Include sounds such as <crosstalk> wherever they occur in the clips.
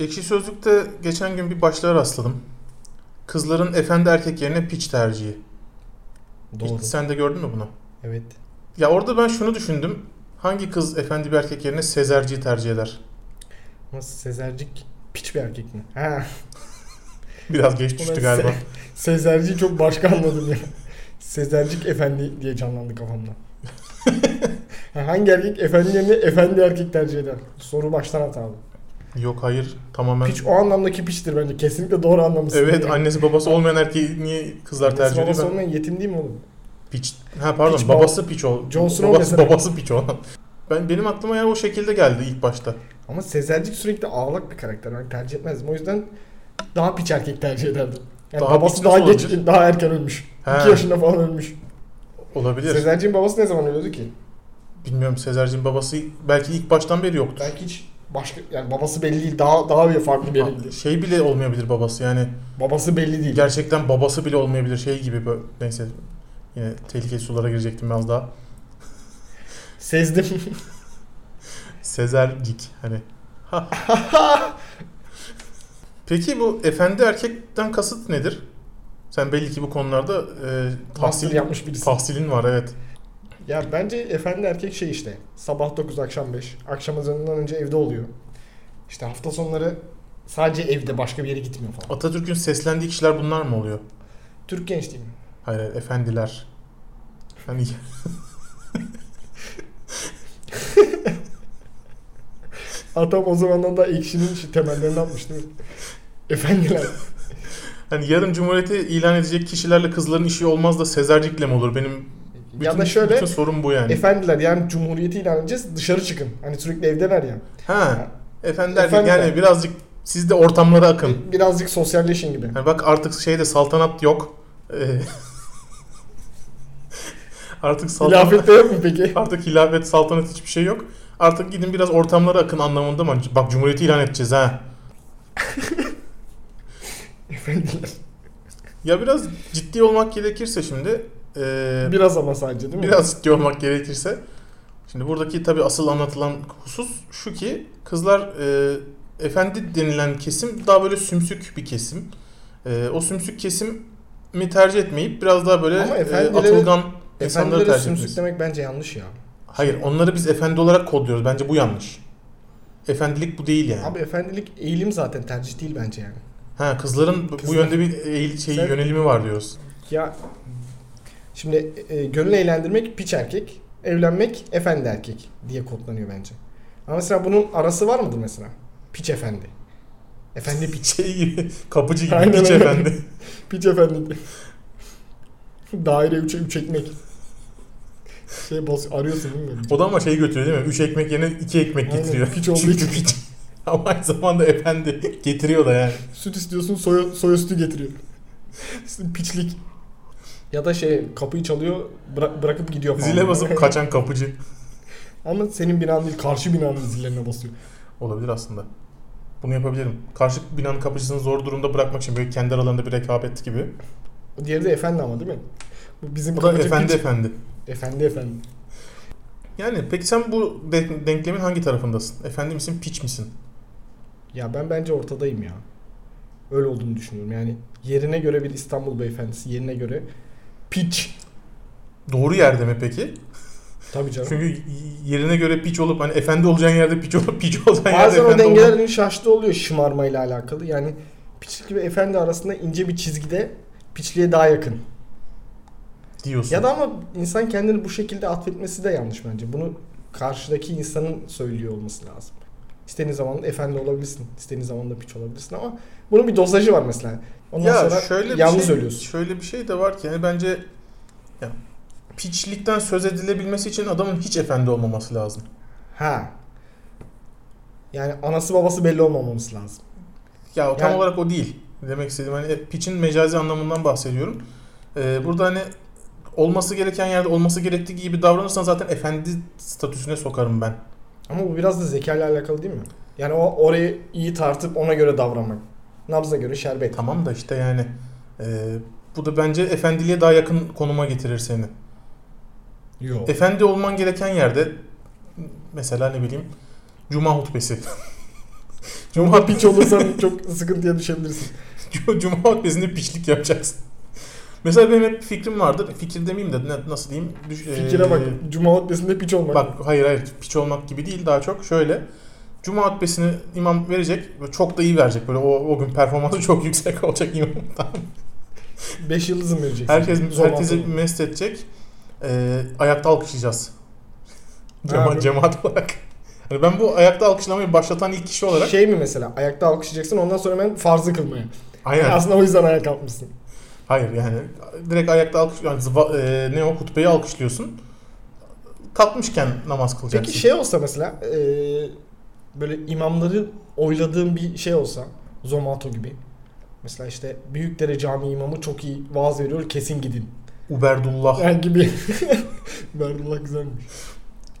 Ekşi Sözlük'te geçen gün bir başlığa rastladım. Kızların efendi erkek yerine piç tercihi. Hiç- Doğru. sen de gördün mü bunu? Evet. Ya orada ben şunu düşündüm. Hangi kız efendi bir erkek yerine sezerciyi tercih eder? <laughs> Ama Sezercik piç bir erkek mi? Ha. <laughs> Biraz geç düştü Ulan galiba. se- Sezerciyi çok başka anladım ya. Sezercik efendi diye canlandı kafamda. <laughs> Ha, Hangi erkek efendi yerine efendi erkek tercih eder? Soru baştan hatalı. Yok hayır tamamen. Piç o anlamdaki piçtir bence. Kesinlikle doğru anlamışsın. Evet Yani. annesi babası olmayan erkeği niye kızlar Annesi tercih ediyor? babası Ben- olmayan yetim değil mi oğlum? Piç. Ha pardon Piç baba- babası piç ol. John Snow babası, mesela. babası piç olan. Ben benim aklıma ya o şekilde geldi ilk başta. Ama Sezercik sürekli ağlak bir karakter. Ben tercih etmezdim. O yüzden daha piç erkek tercih ederdim. Yani Daha babası piç daha nasıl geç, olabilir? daha erken ölmüş. He. 2 yaşında falan ölmüş. Olabilir. Sezercik'in babası ne zaman öldü ki? Bilmiyorum Sezerciğin babası belki ilk baştan beri yoktur. Belki hiç başka yani babası belli değil daha daha bir farklı bir yere gidiyor. Şey bile olmayabilir babası yani. Babası belli değil. Gerçekten babası bile olmayabilir şey gibi böyle. Neyse yine tehlikeli sulara girecektim biraz daha. Sezdim. Sezercik hani. <laughs> Ha. Peki bu efendi erkekten kasıt nedir? Sen belli ki bu konularda e, <laughs> Tahsil tahsil, yapmış birisi. tahsilin var evet. Ya bence efendi erkek şey işte. Sabah 9 akşam 5. Akşam azından önce evde oluyor. İşte hafta sonları sadece evde başka bir yere gitmiyor falan. Atatürk'ün seslendiği kişiler bunlar mı oluyor? Türk gençliği mi? Hayır, hayır, efendiler. Hani Atam o zamandan da ekşinin şu şey temellerini atmış değil mi? <laughs> Efendiler. hani yarın cumhuriyeti ilan edecek kişilerle kızların işi olmaz da Sezercik'le mi olur? Benim bütün, ya da şöyle bütün sorun bu yani. efendiler yani cumhuriyeti ilan edeceğiz dışarı çıkın. Hani sürekli evdeler ya. ha. Efendi erkek Efendiler. yani birazcık siz de ortamlara akın. Birazcık sosyalleşin gibi. Hani bak artık şeyde saltanat yok. Ee, <laughs> artık saltanat Hilafette yok mu peki? <laughs> artık hilafet saltanat hiçbir şey yok. Artık gidin biraz ortamlara akın anlamında mı? Bak cumhuriyeti ilan edeceğiz ha. Efendiler. Ya biraz ciddi olmak gerekirse şimdi ee, Biraz ama sadece değil mi? Biraz ciddi olmak gerekirse. Şimdi buradaki tabi asıl anlatılan husus şu ki kızlar e, efendi denilen kesim daha böyle sümsük bir kesim. E, o sümsük kesimi tercih etmeyip biraz daha böyle Ama e, efendileri- atılgan insanları Efendilere tercih sümsük etmesi. demek bence yanlış ya. Hayır onları biz efendi olarak kodluyoruz. Bence bu yanlış. Efendilik bu değil yani. Abi efendilik eğilim zaten tercih değil bence yani. ha kızların bu- bu Kızlar- yönde bir eğil, şeyi, Sen- yönelimi var diyoruz. <laughs> Ya şimdi e, gönül eğlendirmek piç erkek, evlenmek efendi erkek diye kodlanıyor bence. Ama mesela bunun arası var mıdır mesela? Piç efendi. <laughs> Efendi piç. Şey gibi, kapıcı gibi Aynen piç öyle. efendi. piç efendi. Daire 3'e 3 ekmek. Şey bas arıyorsun değil mi? O da ama şey götürüyor değil mi? Üç ekmek yerine iki ekmek Aynen, getiriyor. piç olduğu Çünkü için. piç. <laughs> Ama aynı zamanda efendi getiriyor da yani. Süt istiyorsun soy, soy üstü getiriyor. Piçlik. Ya da şey kapıyı çalıyor bıra- bırakıp gidiyor falan. Zile basıp kaçan kapıcı Ama senin binan değil karşı binanın zillerine basıyor. olabilir aslında. Bunu yapabilirim. Karşı binanın kapıcısını zor durumda bırakmak için böyle kendi aralarında bir rekabet gibi. O diğeri de efendi ama değil mi? Bu bizim Bu da kapıcı efendi piç- efendi. Efendi efendi. Yani peki sen bu de- denklemin hangi tarafındasın? Efendi misin, piç misin? Ya ben bence ortadayım ya. Öyle olduğunu düşünüyorum. Yani yerine göre bir İstanbul beyefendisi yerine göre piç. Doğru yerde mi peki? Tabii canım. Çünkü y- yerine göre piç olup hani efendi olacağın yerde piç olup piç olacağın yerde Bazen o efendi olmak. dengelerin şaştığı oluyor şımarmayla alakalı. Yani piçlik ve efendi arasında ince bir çizgide piçliğe daha yakın. diyorsun. Ya da ama insan kendini bu şekilde atfetmesi de yanlış bence. Bunu karşıdaki insanın söylüyor olması lazım. İstediğin zaman efendi olabilirsin. istediğin zaman da piç olabilirsin ama bunun bir dozajı var mesela. Ondan sonra bir yalnız şey, ölüyorsun. Şöyle bir şey de var ki yani bence ya, piçlikten söz edilebilmesi için adamın hiç efendi olmaması lazım. Ha. Yani anası babası belli olmaması lazım. Ya o tam Yani- olarak o değil. Demek istediğim hani e, piçin mecazi anlamından bahsediyorum. Ee, burada hani olması gereken yerde olması gerektiği gibi davranırsan zaten efendi statüsüne sokarım ben. Ama bu biraz da zekayla alakalı değil mi? Yani o orayı iyi tartıp ona göre davranmak. Nabza göre şerbet. E, Tamam da işte yani e, bu da bence efendiliğe daha yakın konuma getirir seni. Yok. Efendi olman gereken yerde mesela ne bileyim <laughs> cuma hutbesi. Cuma piç olursan çok sıkıntıya düşebilirsin. Cuma vakfesinde piçlik yapacaksın. <laughs> Mesela benim hep fikrim vardır. Fikir demeyeyim de ne- nasıl diyeyim. Düş- Fikire ee, bak. Cuma hutbesinde piç olmak. Bak hayır hayır piç olmak gibi değil daha çok şöyle. Cuma hutbesini imam verecek ve çok da iyi verecek. Böyle o, o gün performansı <laughs> çok yüksek olacak imamdan. 5 yıldızım vereceksin. Herkes, Zor herkese mantıklı. mest edecek. Ee, ayakta alkışlayacağız. Cema, Ha, bu- cemaat olarak. Hani ben bu ayakta alkışlamayı başlatan ilk kişi olarak Şey mi mesela ayakta alkışlayacaksın ondan sonra hemen farzı kılmaya. aynen. <laughs> Aslında o yüzden ayağa kalkmışsın. Hayır yani direkt ayakta alkış yani zıva- e, ne o hutbeyi alkışlıyorsun. Kalkmışken namaz kılacaksın. Peki şey olsa mesela e, böyle imamları oyladığım bir şey olsa Zomato gibi. Mesela işte Büyükdere Camii imamı çok iyi vaaz veriyor kesin gidin. Uberdullah. Yani gibi. <laughs> Berdullah güzelmiş.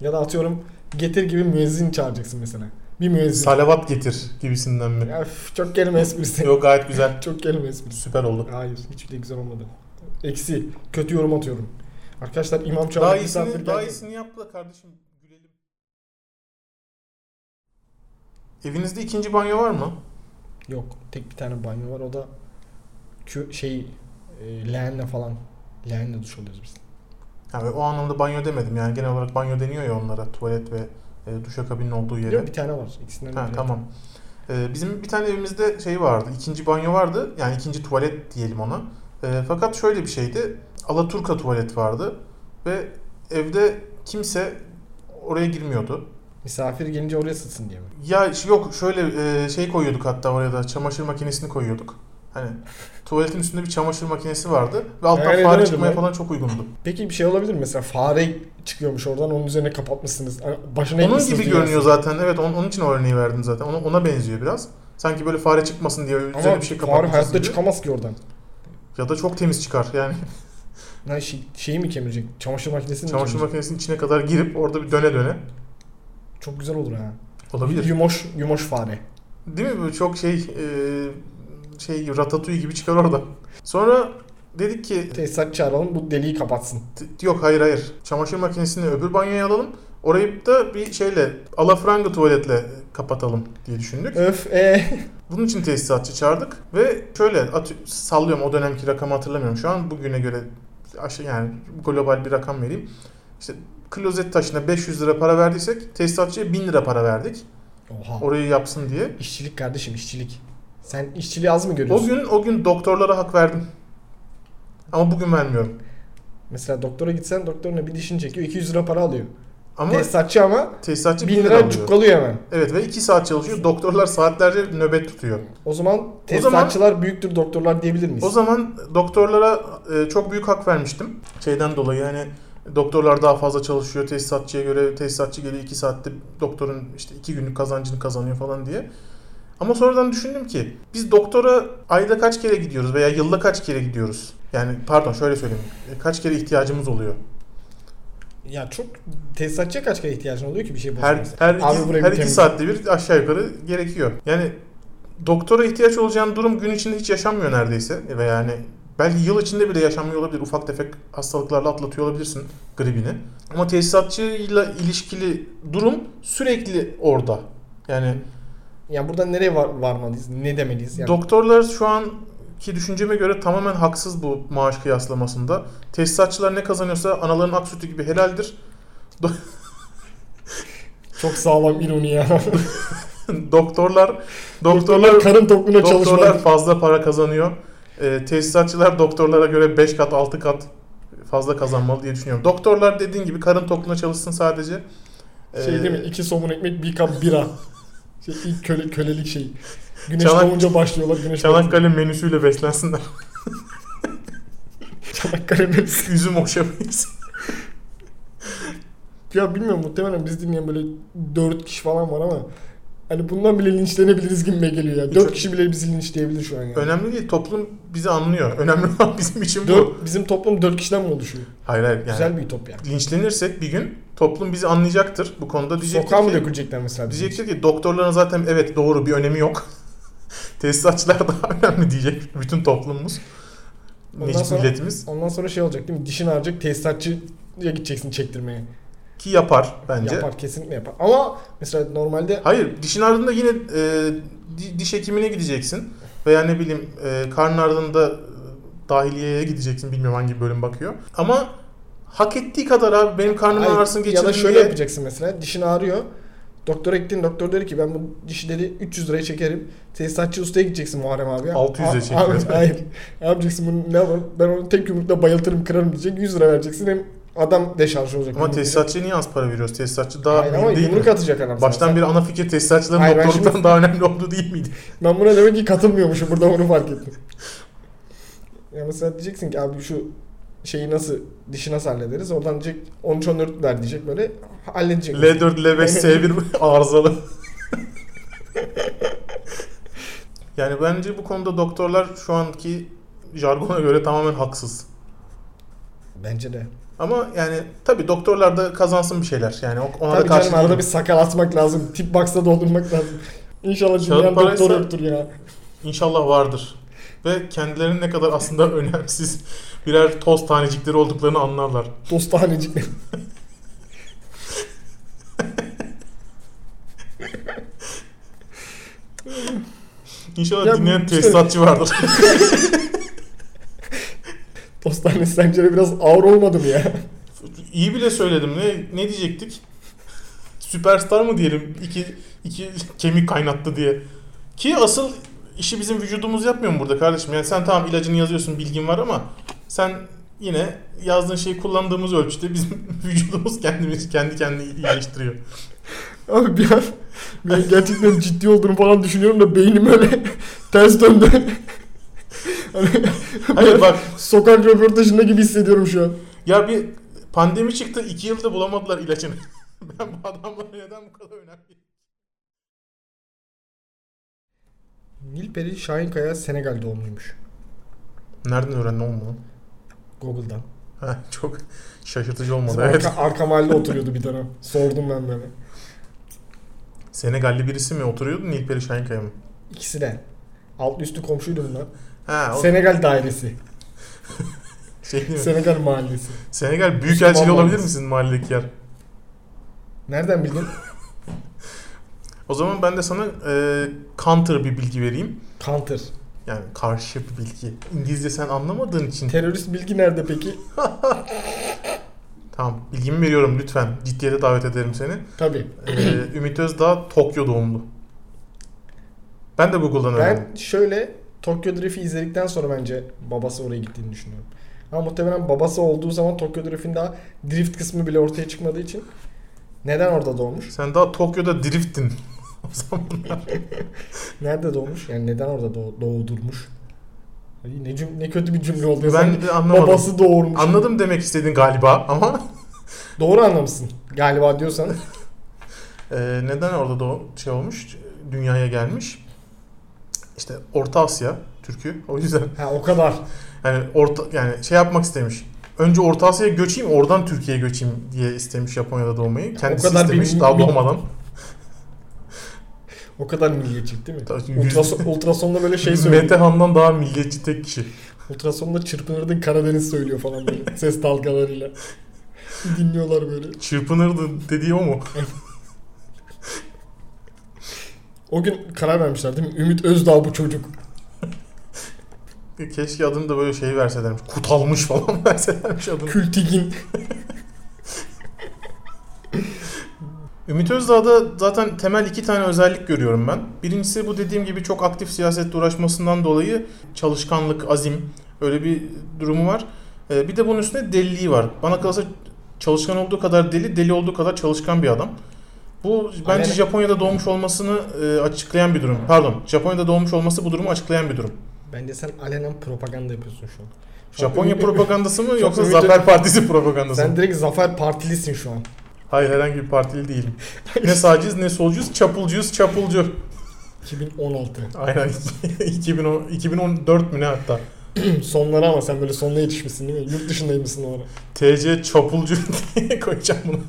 Ya da atıyorum getir gibi müezzin çağıracaksın mesela. Bir müezzin. Salavat getir gibisinden mi? Ya üf, çok kelime esprisi. Yok gayet güzel. Çok kelime esprisi. Süper oldu. Hayır hiçbir de güzel olmadı. Eksi. Kötü yorum atıyorum. Arkadaşlar imam çağırdı. Daha misafir iyisini, geldi. daha iyisini yap da kardeşim gülelim. Evinizde ikinci banyo var mı? Yok. Tek bir tane banyo var. O da kü- şey e, leğenle falan. Leğenle duş alıyoruz biz. Yani o anlamda banyo demedim. Yani genel olarak banyo deniyor ya onlara. Tuvalet ve e, duşakabinin olduğu yere. Yok, Bir tane var. İkisinden Ha, biri. tamam. Ee, bizim bir tane evimizde şey vardı. ikinci banyo vardı. Yani ikinci tuvalet diyelim ona. Ee, fakat şöyle bir şeydi. Alaturka tuvalet vardı. Ve evde kimse oraya girmiyordu. Misafir gelince oraya sıtsın diye mi? Ya ş- yok şöyle e, şey koyuyorduk hatta oraya da çamaşır makinesini koyuyorduk. Hani tuvaletin üstünde bir çamaşır makinesi vardı ve alttan Hayal fare edemedim çıkmaya ya. falan çok uygundu. Peki bir şey olabilir mi? Mesela fare çıkıyormuş oradan onun üzerine kapatmışsınız. Hani Başına onun eğmişsiniz gibi dünyasını. görünüyor zaten. Evet on- onun için o örneği verdim zaten. Ona, ona benziyor biraz. Sanki böyle fare çıkmasın diye üzerine Ama bir şey fare kapatmışız hayatta gibi. çıkamaz ki oradan. Ya da çok temiz çıkar yani. Yani şey, şeyi mi kemirecek? Çamaşır makinesini mi Çamaşır kemirecek? makinesinin içine kadar girip orada bir döne döne Çok güzel olur ha. olabilir. Yumoş, yumoş fare. Değil mi? Bu çok şey e, şey ratatouille gibi çıkar orada. Sonra dedik ki Tesisat çağıralım bu deliği kapatsın. t- yok hayır hayır. Çamaşır makinesini öbür banyoya alalım. Orayı da bir şeyle alafranga tuvaletle kapatalım diye düşündük. Öf e. Bunun için tesisatçı çağırdık ve şöyle atı- sallıyorum o dönemki rakamı hatırlamıyorum şu an bugüne göre aşağı yani global bir rakam vereyim. İşte klozet taşına 500 lira para verdiysek tesisatçıya 1000 lira para verdik. Oha. orayı yapsın diye. İşçilik kardeşim işçilik. Sen işçiliği az mı O görüyorsun? gün o gün doktorlara hak verdim. Ama bugün vermiyorum. Mesela doktora gitsen doktoruna bir dişini çekiyor 200 lira para alıyor. Ama Tesisatçı ama tesisatçı 1000 bin lira lira alıyor. cukkalıyor hemen. Evet ve 2 saat çalışıyor. Doktorlar saatlerce nöbet tutuyor. O zaman tesisatçılar büyüktür doktorlar diyebilir miyiz? O zaman doktorlara e, çok büyük hak vermiştim. Şeyden dolayı yani doktorlar daha fazla çalışıyor tesisatçıya göre. Tesisatçı geliyor 2 saatte doktorun işte 2 günlük kazancını kazanıyor falan diye. Ama sonradan düşündüm ki biz doktora ayda kaç kere gidiyoruz veya yılda kaç kere gidiyoruz? Yani pardon şöyle söyleyeyim. E, Kaç kere ihtiyacımız oluyor? Ya çok tesisatçıya kaç kere ihtiyacın oluyor ki bir şey Her, bozulmasın? her, Abi iki, buraya her bir iki temiz- saatte bir aşağı yukarı gerekiyor. Yani doktora ihtiyaç olacağın durum gün içinde hiç yaşanmıyor neredeyse. E Ve yani belki yıl içinde bile yaşanmıyor olabilir. Ufak tefek hastalıklarla atlatıyor olabilirsin gribini. Ama tesisatçıyla ilişkili durum sürekli orada. Yani Ya buradan nereye var, varmalıyız? Ne demeliyiz? Yani doktorlar şu anki düşünceme göre tamamen haksız bu maaş kıyaslamasında. Tesisatçılar ne kazanıyorsa anaların ak sütü gibi helaldir. <laughs> çok sağlam ironi ya. doktorlar <laughs> doktorlar doktorlar <laughs> karın tokluğuna Doktorlar çalışmalı. fazla para kazanıyor. Ee, tesisatçılar doktorlara göre 5 kat 6 kat fazla kazanmalı diye düşünüyorum. Doktorlar dediğin gibi karın tokluğuna çalışsın sadece. Ee, Şey değil mi? İki somun ekmek, bir <laughs> kap bira. Şey, ilk köle, kölelik şeyi. Güneş Çanak- doğunca başlıyorlar. Güneş doğunca. Çanakkale menüsüyle beslensinler. <laughs> Çanakkale mevsimi. Üzüm hoşamayız. Ya bilmiyorum muhtemelen biz dinleyen böyle 4 kişi falan var ama hani bundan bile linçlenebiliriz gibi geliyor ya. 4 Çok- kişi bile bizi linçleyebilir şu an yani. Önemli değil. Toplum bizi anlıyor. Önemli olan <laughs> bizim için bu. Dört- bizim toplum 4 kişiden mi oluşuyor? Hayır hayır. Yani Güzel bir ütopya. Linçlenirsek bir gün toplum bizi anlayacaktır. Bu konuda diyecektir Sokağa mı ki- dökülecekler mesela? bizim için? Diyecektir ki doktorların zaten evet doğru bir önemi yok. <laughs> Tesisatçılar daha <laughs> önemli diyecek bütün toplumumuz. Ondan Necip sonra- milletimiz. Ondan sonra şey olacak değil mi? Dişini harcayacak tesisatçıya gideceksin çektirmeye. Ki yapar bence. Yapar kesinlikle yapar. Ama mesela normalde Hayır dişin ardında yine e, di- diş hekimine gideceksin. Veya ne bileyim e, karnın ardında e, dahiliyeye gideceksin. Bilmiyorum hangi bölüm bakıyor. Ama hak ettiği kadar abi benim karnımın Hayır, ağrısını geçirdim ya da şöyle şey diye- yapacaksın mesela dişin ağrıyor. Doktora gittin doktor dedi ki ben bu dişi dedi 300 liraya çekerim. Tesisatçı ustaya gideceksin Muharrem abi. 600'e A- çekiyor. Abi, hayır. Ne yapacaksın bunu ne yapalım? Ben onu tek yumrukla bayıltırım kırarım diyecek. 100 lira vereceksin hem adam deşarj olacak. Ama Yumruk tesisatçıya niye az para veriyoruz? Tesisatçı daha yiyecek. Hayır ama mühim değil mi? yumruk atacak adam. sana. Baştan beri ana fikir tesisatçıların Hayır, ben doktorluktan şimdi- daha önemli olduğu değil miydi? Ben buna demek ki katılmıyormuşum. Burada onu fark ettim. <laughs> ya mesela diyeceksin ki abi şu şeyi nasıl dişi nasıl hallederiz? Oradan diyecek 13 14 ver diyecek böyle halledecek. L4, <laughs> L5, S1 arızalı. yani bence bu konuda doktorlar şu anki jargona göre tamamen haksız. Bence de. Ama yani tabii doktorlar da kazansın bir şeyler. Yani o- ona da Tabii karşı canım arada bir değilim. sakal atmak lazım. Tip box'a doldurmak lazım. İnşallah Kağıt dünyanın paraysa- doktoru yoktur ya. İnşallah vardır. Ve kendilerinin ne kadar aslında <laughs> önemsiz birer toz tanecikleri olduklarını anlarlar. Dostanecik. İnşallah Ya şey- bu- dinleyen tesisatçı vardır. <laughs> Dostane sence de biraz ağır olmadı mı ya? İyi bile söyledim. Ne, ne diyecektik? Süperstar mı diyelim? İki, iki kemik kaynattı diye. Ki asıl işi bizim vücudumuz yapmıyor mu burada kardeşim? Yani sen tamam ilacını yazıyorsun bilgin var ama sen yine yazdığın şeyi kullandığımız ölçüde bizim <laughs> vücudumuz kendimiz kendi kendini iyileştiriyor. Abi bir an bir an gerçekten ciddi olduğunu falan düşünüyorum da beynim öyle <laughs> ters döndü. <laughs> Hani <laughs> Hayır bak sokak röportajında gibi hissediyorum şu an. ya bir pandemi çıktı iki yılda bulamadılar ilacını. <laughs> ben bu adamlara neden bu kadar önemli? Nilperi Şahinkaya Senegal doğumluymuş. Nereden öğrendin oğlum bunu? Google'dan. Ha, çok şaşırtıcı olmadı. Bizim Evet. arka, arka mahallede oturuyordu bir dönem. Sordum ben böyle. Senegalli birisi mi oturuyordu Nilperi Şahinkaya mı? İkisi de. Alt üstü komşuydu bunlar. Ha, o Senegal dairesi. şey değil mi? Senegal mahallesi. Senegal Büyükelçiliği Müslüman olabilir var. misin mahalledeki yer? Nereden bildin? O zaman ben de sana e, counter bir bilgi vereyim. Counter. Yani karşı bir bilgi. İngilizce sen anlamadığın için. Terörist bilgi nerede peki? tamam bilgimi veriyorum lütfen. Ciddiyete davet ederim seni. Tabii. E, Ümit Özdağ Tokyo doğumlu. Ben de Google'dan öğrendim. Ben şöyle Tokyo Drift'i izledikten sonra bence babası oraya gittiğini düşünüyorum. Ama muhtemelen babası olduğu zaman Tokyo Drift'in daha drift kısmı bile ortaya çıkmadığı için neden orada doğmuş? Sen daha Tokyo'da driftin. o zamanlar. Nerede doğmuş? Yani neden orada doğ- doğdurmuş? Ay, Ne, cüm- ne kötü bir cümle oldu. ya. ben Sen de anlamadım. babası doğurmuş. Anladım demek istedin galiba ama Doğru anlamışsın galiba diyorsan. Ee, neden orada da o şey olmuş, dünyaya gelmiş? İşte Orta Asya Türk'ü. O yüzden Ha o kadar. yani orta yani şey yapmak istemiş. Önce Orta Asya'ya göçeyim, oradan Türkiye'ye göçeyim diye istemiş Japonya'da doğmayı. Kendisi kadar bir istemiş mi- daha mi- doğmadan. O kadar milliyetçilik değil mi? Tabii, yüz- Ultrason, ultrasonda <laughs> böyle <laughs> şey söylüyor. Mete Han'dan daha milliyetçi tek kişi. Ultrasonda çırpınırdın Karadeniz söylüyor falan <laughs> böyle ses dalgalarıyla. Dinliyorlar böyle. Çırpınırdı dediği o mu? O gün karar vermişler değil mi? Ümit Özdağ bu çocuk. Keşke adını da böyle şey verselermiş. Kutalmış falan <laughs> verselermiş adını. Kültigin. Ümit Özdağ'da zaten temel iki tane özellik görüyorum ben. Birincisi bu dediğim gibi çok aktif siyasetle uğraşmasından dolayı çalışkanlık, azim öyle bir durumu var. Ee, bir de bunun üstüne deliliği var. Bana kalırsa çalışkan olduğu kadar deli, deli olduğu kadar çalışkan bir adam. Bu bence Aynen. Japonya'da doğmuş olmasını e, açıklayan bir durum. Pardon, Japonya'da doğmuş olması bu durumu açıklayan bir durum. Bence sen alenen propaganda yapıyorsun şu an. Şu an Japonya Ümit- propagandası mı yoksa Ümit- Zafer Partisi propagandası mı? Sen direkt Zafer Partilisin şu an. Hayır herhangi bir partili değilim. ne sağcıyız ne solcuyuz, çapulcuyuz, çapulcu. 2016. Aynen <laughs> 2010, 2014 mü ne hatta? <clears throat> Sonlara ama sen böyle sonuna yetişmişsin değil mi? Yurt dışındaymışsın o ara. TC çapulcu <laughs> diye koyacağım bunu.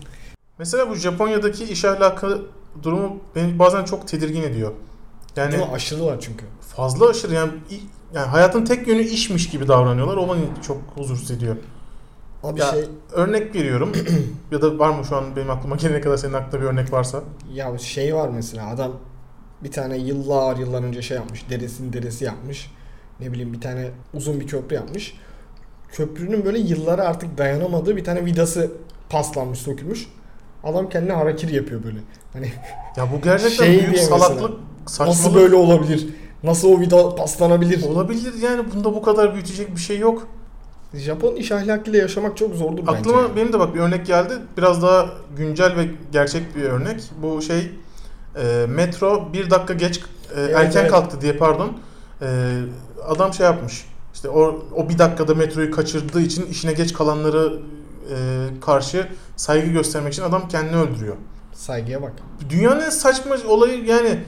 Mesela bu Japonya'daki iş ahlakı durumu beni bazen çok tedirgin ediyor. Yani Değil mi? Aşırılar çünkü. fazla aşırı yani, i- yani hayatın tek yönü işmiş gibi davranıyorlar. O beni çok huzursuz ediyor. Abi Ya- şey Örnek <clears throat> veriyorum ya da var mı şu an benim aklıma gelene kadar senin aklında bir örnek varsa. ya şey var mesela adam bir tane yıllar yıllar önce şey yapmış. Deresinin deresi yapmış. Ne bileyim bir tane uzun bir köprü yapmış. Köprünün böyle yıllara artık dayanamadığı bir tane vidası paslanmış, sökülmüş. Adam kendine harakiri yapıyor böyle. Hani Ya bu gerçekten Şey büyük diye mesela, salaklık, saçmalık nasıl böyle olabilir? Nasıl o vida paslanabilir? olabilir yani bunda bu kadar büyütecek bir şey yok. Japon iş ahlakıyla yaşamak çok zordur bence. Aklıma benim de bak bir örnek geldi. Biraz daha güncel ve gerçek bir örnek. Bu şey e, metro bir dakika geç e, Evet, erken evet. kalktı diye pardon. E, adam şey yapmış. İşte o, o bir dakikada metroyu kaçırdığı için işine geç kalanlara e, karşı saygı göstermek için adam kendini öldürüyor. Saygıya bak. Dünyanın en saçma olayı yani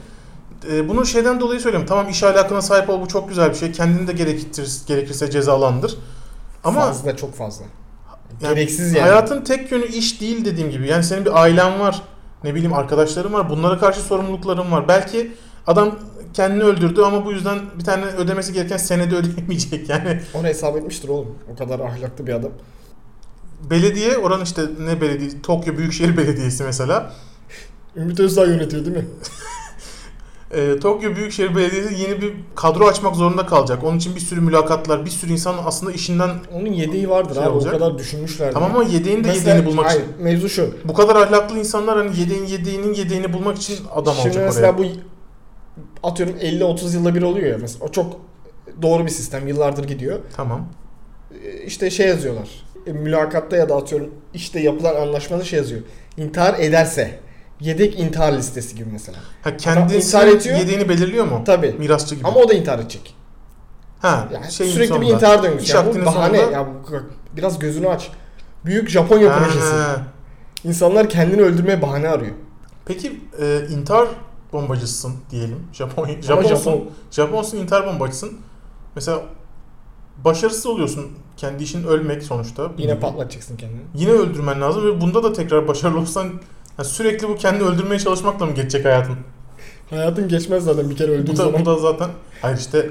e, bunu şeyden dolayı söylüyorum. Tamam iş ahlakına sahip ol bu çok güzel bir şey. Kendini de gerektir, gerekirse cezalandır. Ama fazla çok fazla. yani Gereksiz yani. Hayatın tek yönü iş değil dediğim gibi. Yani senin bir ailen var. Ne bileyim arkadaşların var. Bunlara karşı sorumlulukların var. Belki adam kendini öldürdü ama bu yüzden bir tane ödemesi gereken senede ödeyemeyecek. <laughs> Yani Onu hesap etmiştir oğlum. O kadar ahlaklı bir adam. belediye oranın işte ne belediye Tokyo Büyükşehir Belediyesi mesela. Ümit Özdağ yönetiyor değil mi? Ee, Tokyo Büyükşehir Belediyesi yeni bir kadro açmak zorunda kalacak. Onun için bir sürü mülakatlar, bir sürü insan aslında işinden Onun yedeği vardır Şey abi. olacak. O kadar düşünmüşler. tamam ama yedeğini de Mesela- yedeğini bulmak hayır, için. Mevzu şu. Bu kadar ahlaklı insanlar hani yedeğin yedeğinin yedeğini bulmak için adam Şimdi olacak mesela oraya. bu atıyorum 50-30 yılda bir oluyor ya. Mesela o çok doğru bir sistem. Yıllardır gidiyor. Tamam. E, İşte şey yazıyorlar. E, Mülakatta ya da atıyorum işte yapılan anlaşmada şey yazıyor. İntihar ederse yedek intihar listesi gibi mesela. Ha intihar kendisi ediyor. yedeğini belirliyor mu? Tabii. Mirasçı gibi. Ama o da intihar edecek. ha, Yani şeyin sürekli sonunda. bir intihar döngüsü. İş Yani bu hakkının bahane. sonunda- Ya bu, biraz gözünü aç. Büyük Japonya Ha. projesi. İnsanlar kendini öldürmeye bahane arıyor. Peki e, intihar bombacısısın diyelim. Japon, Ama Japonsun. Japon Japonsun intihar bombacısın. Mesela başarısız oluyorsun. Kendi işin ölmek sonuçta. Bir yine nevi. patlatacaksın kendini. Yine öldürmen lazım ve bunda da tekrar başarılı olursan yani sürekli bu kendini öldürmeye çalışmakla mı geçecek hayatın? Hayatın geçmez zaten bir kere öldüğün Bu da, zaman. bu da zaten hayır işte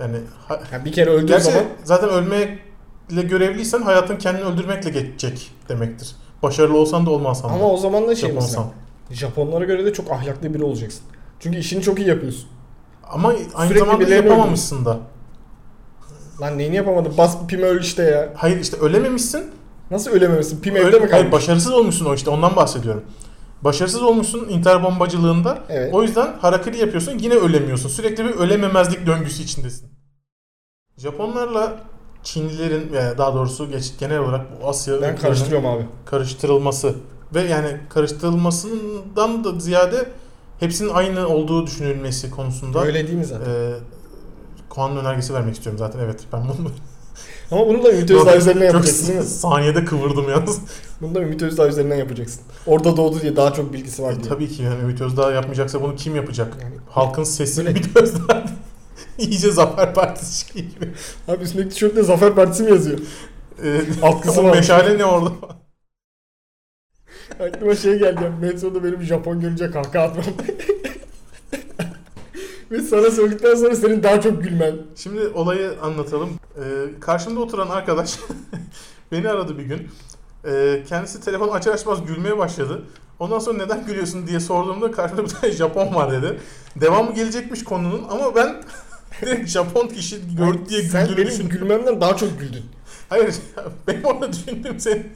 yani ha- Ya bir kere öldüğün Gerçi zaman zaten ölmekle görevliysen hayatın kendini öldürmekle geçecek demektir. Başarılı olsan da olmasan da. ama o zaman da şey Japonsan. mesela. Japonlara göre de çok ahlaklı biri olacaksın. Çünkü işini çok iyi yapıyorsun. Ama aynı Sürekli zamanda birilerini yapamamışsın da. Lan neyini yapamadın? Bas pime öl işte ya. Hayır işte ölememişsin. Nasıl ölememişsin? Pime Öyle- evde mi hayır, kalmış? başarısız olmuşsun o işte ondan bahsediyorum. Başarısız olmuşsun intihar bombacılığında. Evet. O yüzden harakiri yapıyorsun yine ölemiyorsun. Sürekli bir ölememezlik döngüsü içindesin. Japonlarla Çinlilerin veya daha doğrusu geç genel olarak bu Asya Ben ülkelerinin- karıştırıyorum abi. karıştırılması ve yani karıştırılmasından da ziyade hepsinin aynı olduğu düşünülmesi konusunda Öyle değil mi zaten? e, Kuan'ın önergesi vermek istiyorum zaten evet ben <laughs> bunu Ama bunu da Ümit Özdağ üzerinden çok yapacaksın değil mi? saniyede kıvırdım yalnız. Bunu da Ümit Özdağ üzerinden yapacaksın. Orada doğdu diye daha çok bilgisi var E, diye. tabii ki yani Ümit Özdağ yapmayacaksa bunu kim yapacak? Yani- Halkın sesi Böyle- Ümit <laughs> Özdağ iyice Zafer Partisi şey gibi. Abi üstündeki tişörtte Zafer Partisi mi yazıyor? E, Alt kısmı o var. meşale ne orada? Aklıma şey geldi. ya, Metroda benim Japon görünce kahkaha atmam. Ve sana söyledikten sonra senin daha çok gülmen. Şimdi olayı anlatalım. Ee, karşımda oturan arkadaş <laughs> beni aradı bir gün. Ee, kendisi telefon açar açmaz gülmeye başladı. Ondan sonra neden gülüyorsun diye sorduğumda karşımda bir tane Japon var dedi. Devamı gelecekmiş konunun ama ben <laughs> direkt Japon kişi gördü diye Sen güldüğünü benim düşündüm. gülmemden daha çok güldün. Hayır <laughs> benim orada düşündüğüm senin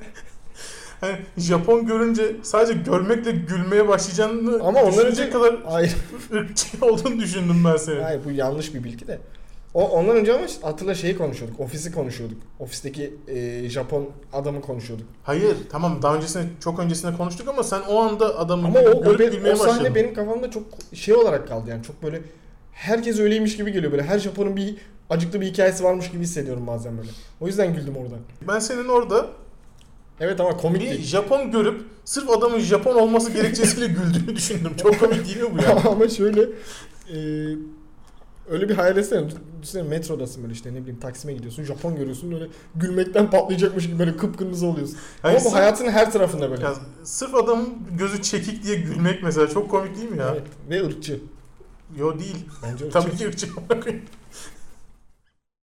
hani Japon görünce sadece görmekle gülmeye başlayacağını Ama ondan düşünecek önce... kadar Hayır, ırkçı <laughs> olduğunu düşündüm ben senin. hayır bu yanlış bir bilgi de. O, ondan önce ama hatırla şeyi konuşuyorduk. Ofisi konuşuyorduk. Ofisteki e, Japon adamı konuşuyorduk. Hayır tamam daha öncesinde çok öncesinde konuştuk ama sen o anda adamı Ama o, o, görüp be- gülmeye o sahne başladın. benim kafamda çok şey olarak kaldı yani çok böyle herkes öyleymiş gibi geliyor böyle her Japon'un bir acıklı bir hikayesi varmış gibi hissediyorum bazen böyle. O yüzden güldüm orada. Ben senin orada Evet ama komik bir değil. Japon görüp sırf adamın Japon olması gerekçesiyle güldüğünü düşündüm. Çok komik değil mi bu ya? <laughs> ama şöyle e, öyle bir hayal etsene. Düşünsene metrodasın böyle işte ne bileyim Taksim'e gidiyorsun Japon görüyorsun böyle gülmekten patlayacakmış gibi böyle kıpkırmızı oluyorsun. Hayır, ama bu sırf, hayatın her tarafında böyle. ya, sırf adamın gözü çekik diye gülmek mesela çok komik değil mi ya? Evet. Ve ırkçı. Yo değil. <laughs> Bence ırkçı. Tabii ki ırkçı.